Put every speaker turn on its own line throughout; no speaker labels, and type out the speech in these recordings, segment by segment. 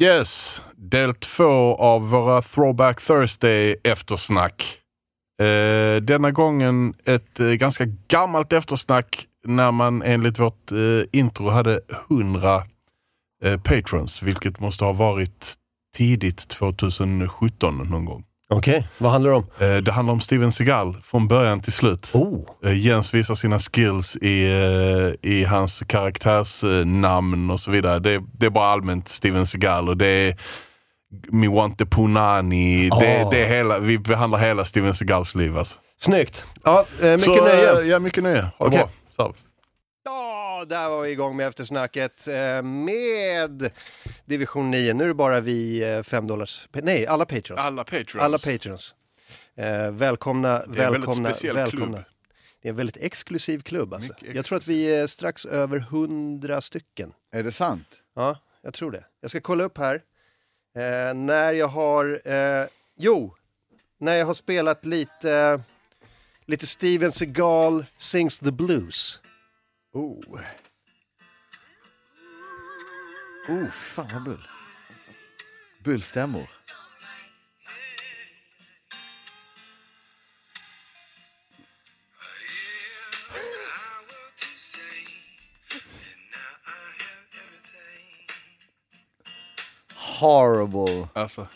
Yes, del två av våra Throwback Thursday eftersnack. Eh, denna gången ett eh, ganska gammalt eftersnack när man enligt vårt eh, intro hade 100 eh, patrons, vilket måste ha varit tidigt 2017 någon gång.
Okej, vad handlar det om?
Eh, det handlar om Steven Seagal från början till slut.
Oh,
Eh, Jens visar sina skills i, eh, i hans karaktärsnamn och så vidare. Det, det är bara allmänt Steven Seagal och det är Miwante Punani. Det,
Ah.
det är hela, vi behandlar hela Steven Seagals liv alltså.
snyggt! Ja, eh, mycket
så,
nöje.
eh, Ja, mycket nöje. Ha det
Okej.
bra. Så.
Ja, där var vi igång med eftersnacket eh, med division 9. Nu är det bara vi eh, 5 dollars, nej alla patrons.
Alla patrons.
Alla patrons. Eh, välkomna,
Det är en väldigt
välkomna,
speciell
välkomna.
klubb.
Det är en väldigt exklusiv klubb alltså.
Mycket
Jag tror att vi är strax över 100 stycken.
Är det sant?
Ja, jag tror det. Jag ska kolla upp här. Eh, när jag har... Eh, jo! När jag har spelat lite... Lite Steven Seagal sings the blues.
Oh. Oh, fan vad bull. Bullstämmor. Horrible.
Alltså,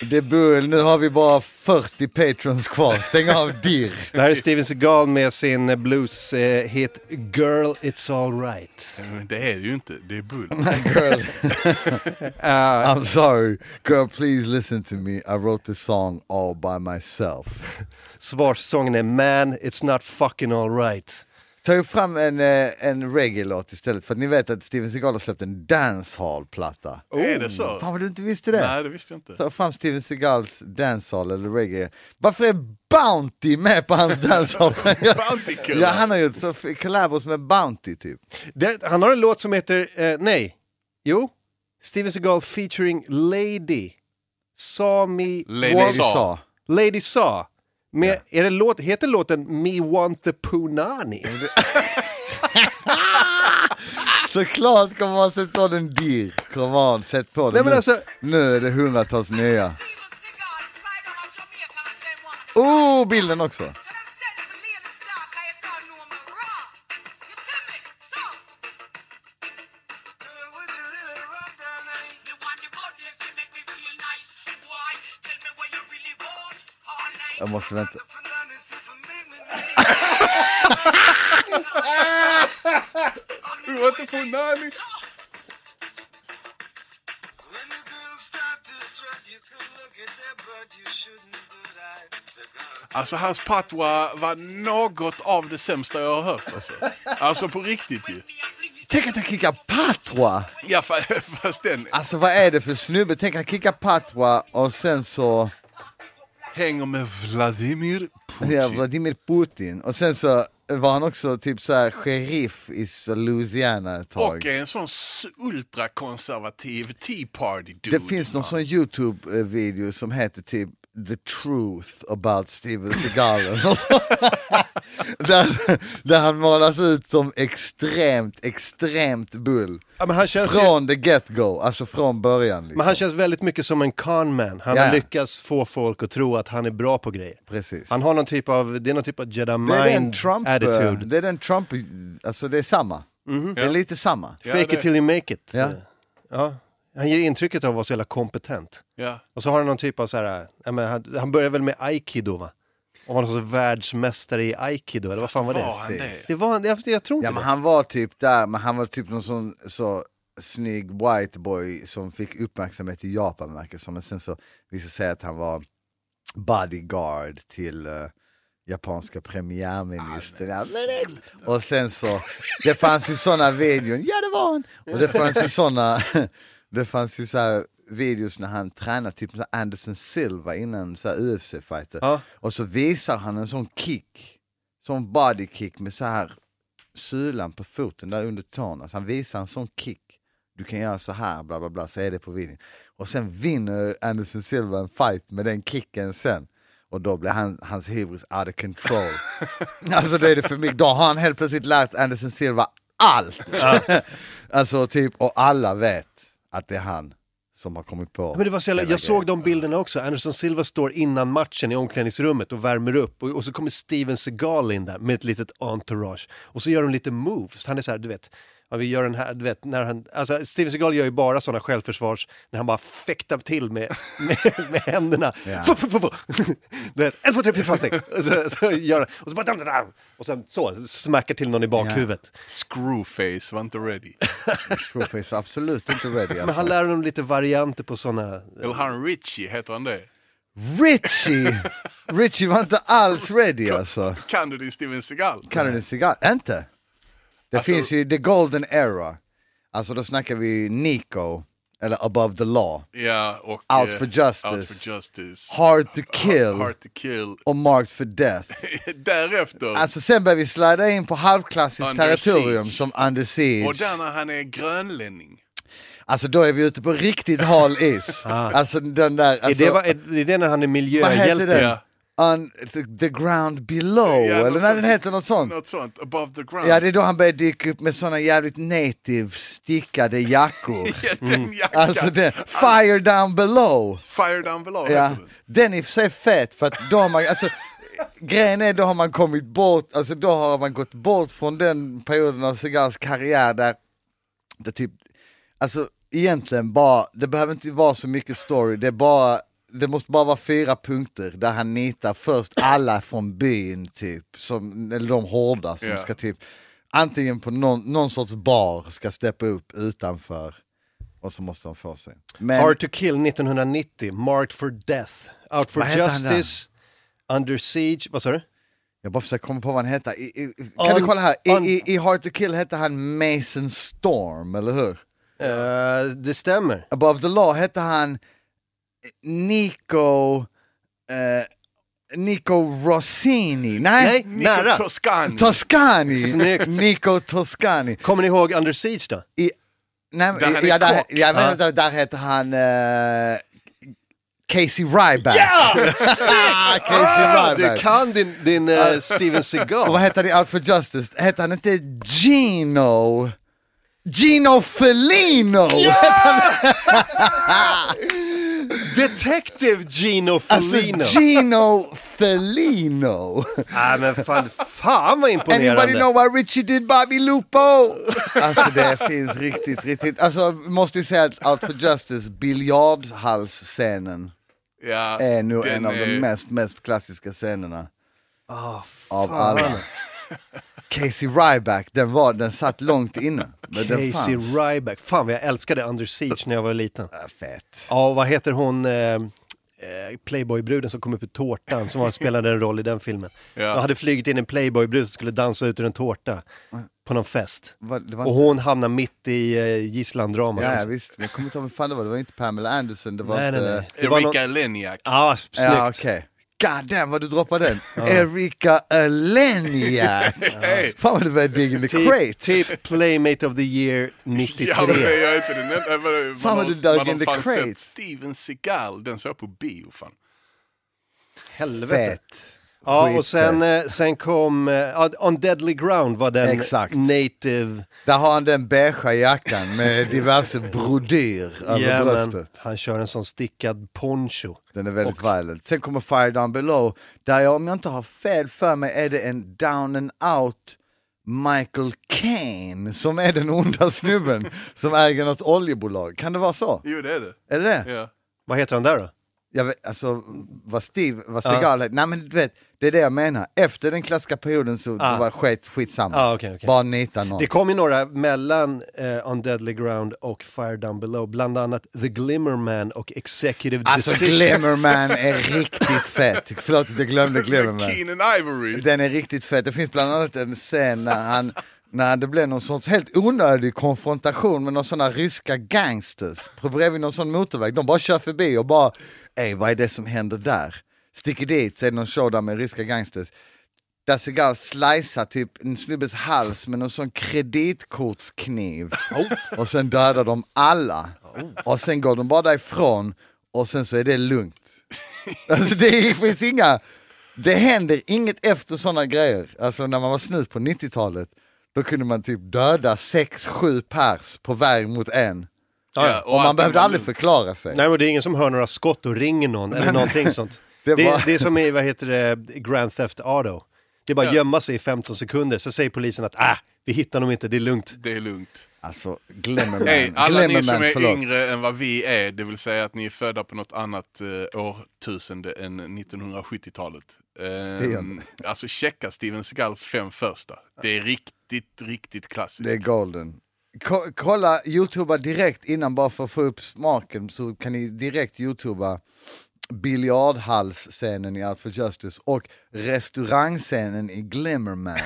Det är bull. Nu har vi bara 40 patrons kvar. Stäng av dirr.
Det här är Steven Seagal med sin eh, blues-hit Girl It's Alright.
eh, det är ju inte, det är bull.
Girl.
Uh.
I'm sorry. Girl, please listen to me. I wrote this song all by myself.
Svarssången är Man It's Not Fucking Alright.
Ta ju fram en, eh, en reggae-låt istället för att ni vet att Steven Seagal har släppt en dancehall-platta.
Är det så?
Oh, Fan vad du inte visste det!
Oh. Nej, det visste jag inte.
Ta fram Steven Seagals dancehall eller reggae. Varför är Bounty med på hans dancehall?
Bounty kul.
ja, han har gjort så f- collabos med Bounty typ.
Det, han har en låt som heter... Eh, nej. Jo. Steven Seagal featuring Lady. Sami...
Lady
Wa-
Sa.
Lady Sa. Med, är det låt, heter låten Me Want The Punani?
Såklart kommer man sätta på den dir. Come on, sätt på den.
Nej, men
Nu-
alltså-
Nu är det hundratals nya. Oh, bilden också! Jag måste vänta.
Du var inte Punani.
When the girls start to strut, you could look at them, but you shouldn't do that. The girl
Alltså hans patwa var något av det sämsta jag har hört. Alltså, alltså på riktigt ju.
Tänk att han kickar patwa!
Ja, fa- fast den
Alltså vad är det för snubbe? Tänk han kickar patwa och sen så...
hänger med Vladimir
Oh,
Ja,
Putin.
Vladimir Putin. Och sen så var han också typ så här sheriff i så Louisiana ett tag.
Och är en sån s- ultrakonservativ Tea Party dude.
Det finns någon sån YouTube-video som heter typ The Truth about Steven Seagal. där, där han målas ut som extremt, extremt bull.
Ja, men han känns ju-
Från the get-go, alltså från början. Liksom.
Men han känns väldigt mycket som en conman. Han
Ja.
har lyckats få folk att tro att han är bra på grejer.
Precis.
Han har någon typ av, det är någon typ av jedi
det är den
mind
Trump, eh,
attitude. Mhm.
det är den Trump, alltså det är samma. Det är
Ja.
lite samma.
Ja,
Fake
det-
it till you make it.
Ja.
Ja. Han ger intrycket av att vara så jävla kompetent.
Ja.
Och så har han någon typ av så här, ja, men han, han började väl med aikido va? Och var någon sorts världsmästare i aikido, eller vad fan var det?
Var han det?
Det var, jag, jag tror inte
Ja men han var typ där, men han var typ någon sån så snygg white boy som fick uppmärksamhet i Japan verkar det som. Men sen så visade det sig att han var bodyguard till eh, japanska premiärministern. Ja, men ex- och sen så, det fanns ju såna videon, ja det var han! Och det fanns ju såna, det fanns ju så här videos när han tränade typ så här Anderson Silva innan så här UFC-fighter.
Ja.
Och så visar han en sån kick, sån body kick med så här sulan på foten där under tån. Alltså han visar en sån kick. Du kan göra så här, bla bla bla, så är det på videon. Och sen vinner Anderson Silva en fight med den kicken sen. Och då blir han, hans hybris out of control. alltså det är det för mig. Då har han helt plötsligt lärt Anderson Silva allt! alltså typ, och alla vet att det är han som har kommit på.
Men det var så jävla,
hela
jag såg
grejen.
de bilderna också. Anderson Silva står innan matchen i omklädningsrummet och värmer upp och, och så kommer Steven Seagal in där med ett litet entourage och så gör de lite moves. Han är så här, du vet, ja, vi gör den här, du vet, när han, alltså Steven Seagal gör ju bara sådana självförsvars när han bara fäktar till med, med, med händerna.
Ja.
Fu- fu- fu- fu. Du vet, en, två, tre, fyra, fem, sex. Och så, så gör han, och så bara, dam, dam, dam. och sen så smackar till någon i bakhuvudet.
Screwface var inte ready.
Screwface var absolut inte ready
Men
alltså.
han lär honom lite varianter på sådana
Eller han Richie, heter han det?
Richie! Richie var inte alls ready alltså.
Kan du din Steven Seagal?
Kan du en cigarr? Inte? Det
Alltså-
finns ju the golden era. Alltså då snackar vi Nico, eller above the law,
Ja, och...
Out
eh,
for Justice.
Out for Justice.
hard to kill
Hard to kill.
och marked for death.
Därefter,
Alltså sen börjar vi slida in på halvklassiskt
Under
territorium
siege.
som under siege.
och där när han är grönlänning.
Alltså då är vi ute på riktigt hal is.
Ah.
Alltså den där, alltså,
är, det, va- är, är det när han är
vad heter
miljöhjälte?
den?
Ja.
Un, the ground below,
Ja, något
eller när den
sånt.
heter något sånt.
Något sånt, above the ground.
Ja, det är då han börjar dyka upp med såna jävligt native stickade jackor.
Ja, den jackan.
Alltså det, fire down below!
Fire down below
Ja.
heter den.
Den är i och för sig fet för att då har man, alltså grejen är då har man kommit bort, alltså då har man gått bort från den perioden av Segals karriär där, där typ, alltså egentligen bara, det behöver inte vara så mycket story, det är bara det måste bara vara fyra punkter där han nitar först alla från byn typ, som, eller de hårda som
Ja.
ska typ antingen på någon, någon sorts bar ska steppa upp utanför och så måste de få sig. Men,
Hard to kill 1990, Marked for death, Out for
Vad heter han där?
justice, Under siege, vad sa du?
Jag bara försöker komma på vad han hette. I, i, kan
Un-
du kolla här? I,
un-
i, I Hard to Kill hette han Mason Storm, eller hur?
Eh, det stämmer.
Above the Law hette han Nico... Eh, Nico Rossini? Nej!
Nej,
Nico
nära.
Toscani.
Toscani!
Snyggt.
Nico Toscani.
Kommer ni ihåg Under siege då?
I, nej,
Där han är
ja, där,
kock.
jag
Ja.
menar, där, där hette han eh, Casey Ryback. Casey
Ah,
Ryback.
du kan din, din eh, Steven
Och vad
Seagal.
hette han i Out for Justice? Hette han inte Gino? Gino Felino!
Detective Gino
Alltså
Felino.
Gino Felino!
ah, men fan, fan vad
Anybody
imponerande.
know what Richie did Bobby Lupo? Alltså det finns riktigt, riktigt. Alltså måste ju säga att Out for Justice, biljardhalsscenen,
Ja,
är nog
den
en av de
är-
mest, mest klassiska scenerna
Ah,
av
fan.
alla. Casey Ryback, den, var, den satt långt inne. Men
Casey
den fanns.
Ryback. Fan vad jag älskade Under siege när jag var liten.
Ah, Fett.
Ja, och vad heter hon, eh, eh, Playboybruden som kom upp ur tårtan, som var, spelade en roll i den filmen.
Ja.
Jag hade flugit in en Playboybrud som skulle dansa ut ur en tårta på någon fest.
Va- det Mm. var
Och hon hamnade mitt i eh, gisslandramat.
Ja, ja visst, men jag kommer inte ihåg vem fan det var, det var inte Pamela Anderson, det var
nej, nej,
inte...
nej. Det var någon-
Erika Leniak.
Ja, s- snyggt.
Ja okej. God damn vad du droppar den! Erika Alenia!
Hey.
Fan vad du börjar digga the
Typ,
crates!
typ Playmate of the year 93.
Ja, men det gör inte den enda. Man,
Fan, vad
har-
du dök
man har
in the
fan sett
crates.
Steven Seagal, den såg jag på bio fan.
Helvete.
Fett!
Ja,
Skitfett.
och sen, eh, sen kom, eh, ja, On Deadly Ground var den
Exakt.
native.
Där har han den beigea jackan med diverse brodyr över
Ja, men
bröstet.
han kör en sån stickad poncho.
Den är väldigt violent. Sen kommer Fire Down Below, där jag om jag inte har fel för mig är det en down and out Michael Caine som är den onda snubben som äger något oljebolag. Kan det vara så?
Jo, det är det.
Är det det?
Ja.
Vad heter han där då?
jag vet, alltså vad Steve, vad Seagal, nej men du vet, det är det jag menar. Efter den klassiska perioden så
Ah.
det var skit, skitsamma.
Ah, okej, okej.
Bara nita någon.
Det kom ju några mellan eh, On Deadly Ground och Fire Down Below, bland annat The Glimmer Man och Executive
Alltså
Decision.
Glimmerman är riktigt fet. Förlåt att jag glömde Glimmerman.
Keenan Ivory.
Den är riktigt fet. Det finns bland annat en scen när han när det blev någon sorts helt onödig konfrontation med någon sådana ryska gangsters på bredvid någon sån motorväg. De bara kör förbi och bara, ey vad är det som händer där? Sticker dit så är det någon showdown med ryska gangsters. Där Seagal slicear typ en snubbes hals med någon sån kreditkortskniv. Och sen dödar de alla. Och sen går de bara därifrån och sen så är det lugnt. Alltså det finns inga, det händer inget efter sådana grejer. Alltså när man var snut på 90-talet, då kunde man typ döda sex, sju pers på väg mot en.
Ja,
Ja,
ja.
Och, man
allting
behövde
var
aldrig
lugnt.
förklara sig.
Nej, men det är ingen som hör några skott och ringer någon eller någonting sånt.
Det
Det,
var-
är, det är som i, vad heter det, Grand Theft Auto. Det är bara
Ja.
gömma sig i 15 sekunder, så säger polisen att ah, vi hittar dem inte, det är lugnt.
Det är lugnt.
Alltså glömmer man,
Hey, alla
glömmer
ni som
man,
är
förlåt.
yngre än vad vi är, det vill säga att ni är födda på något annat eh, årtusende än 1970-talet. Ehm,
Tionde.
alltså checka Steven Seagals fem första. Det är riktigt, riktigt klassiskt.
Det är golden. Ko- kolla, youtuba direkt innan bara för att få upp smaken så kan ni direkt youtuba biljardhalsscenen i Out for Justice och restaurangscenen i Glimmerman.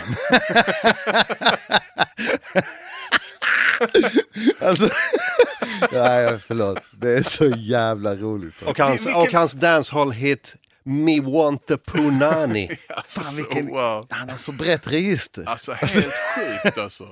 alltså, nej förlåt, det är så jävla roligt.
Och hans,
Vilken-
och hans dancehall-hit Me Want The Punani.
alltså,
Fan, vilken-
wow.
Han har så brett register.
Alltså helt sjukt alltså.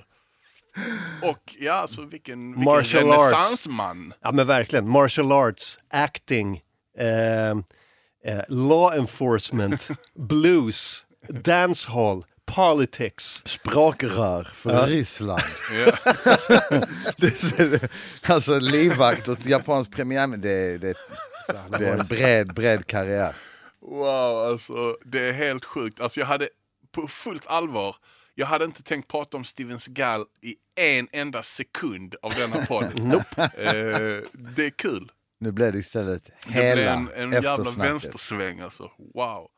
Och ja, alltså vilken, vilken
Martial arts.
renässansman.
Ja men verkligen, martial arts, acting, eh, eh, law enforcement, blues, dancehall, politics.
Sprakrör från Ryssland.
Ja.
Det är så- alltså livvakt och japansk premiär, men det, är- det, är- det är en bred, bred karriär.
Wow, alltså det är helt sjukt. Alltså jag hade på fullt allvar, jag hade inte tänkt prata om Steven Seagal i en enda sekund av denna podd. nope. eh, det är kul.
Nu blev det istället
Det blev
hela
en, en jävla
eftersnacket.
vänstersväng alltså. Wow.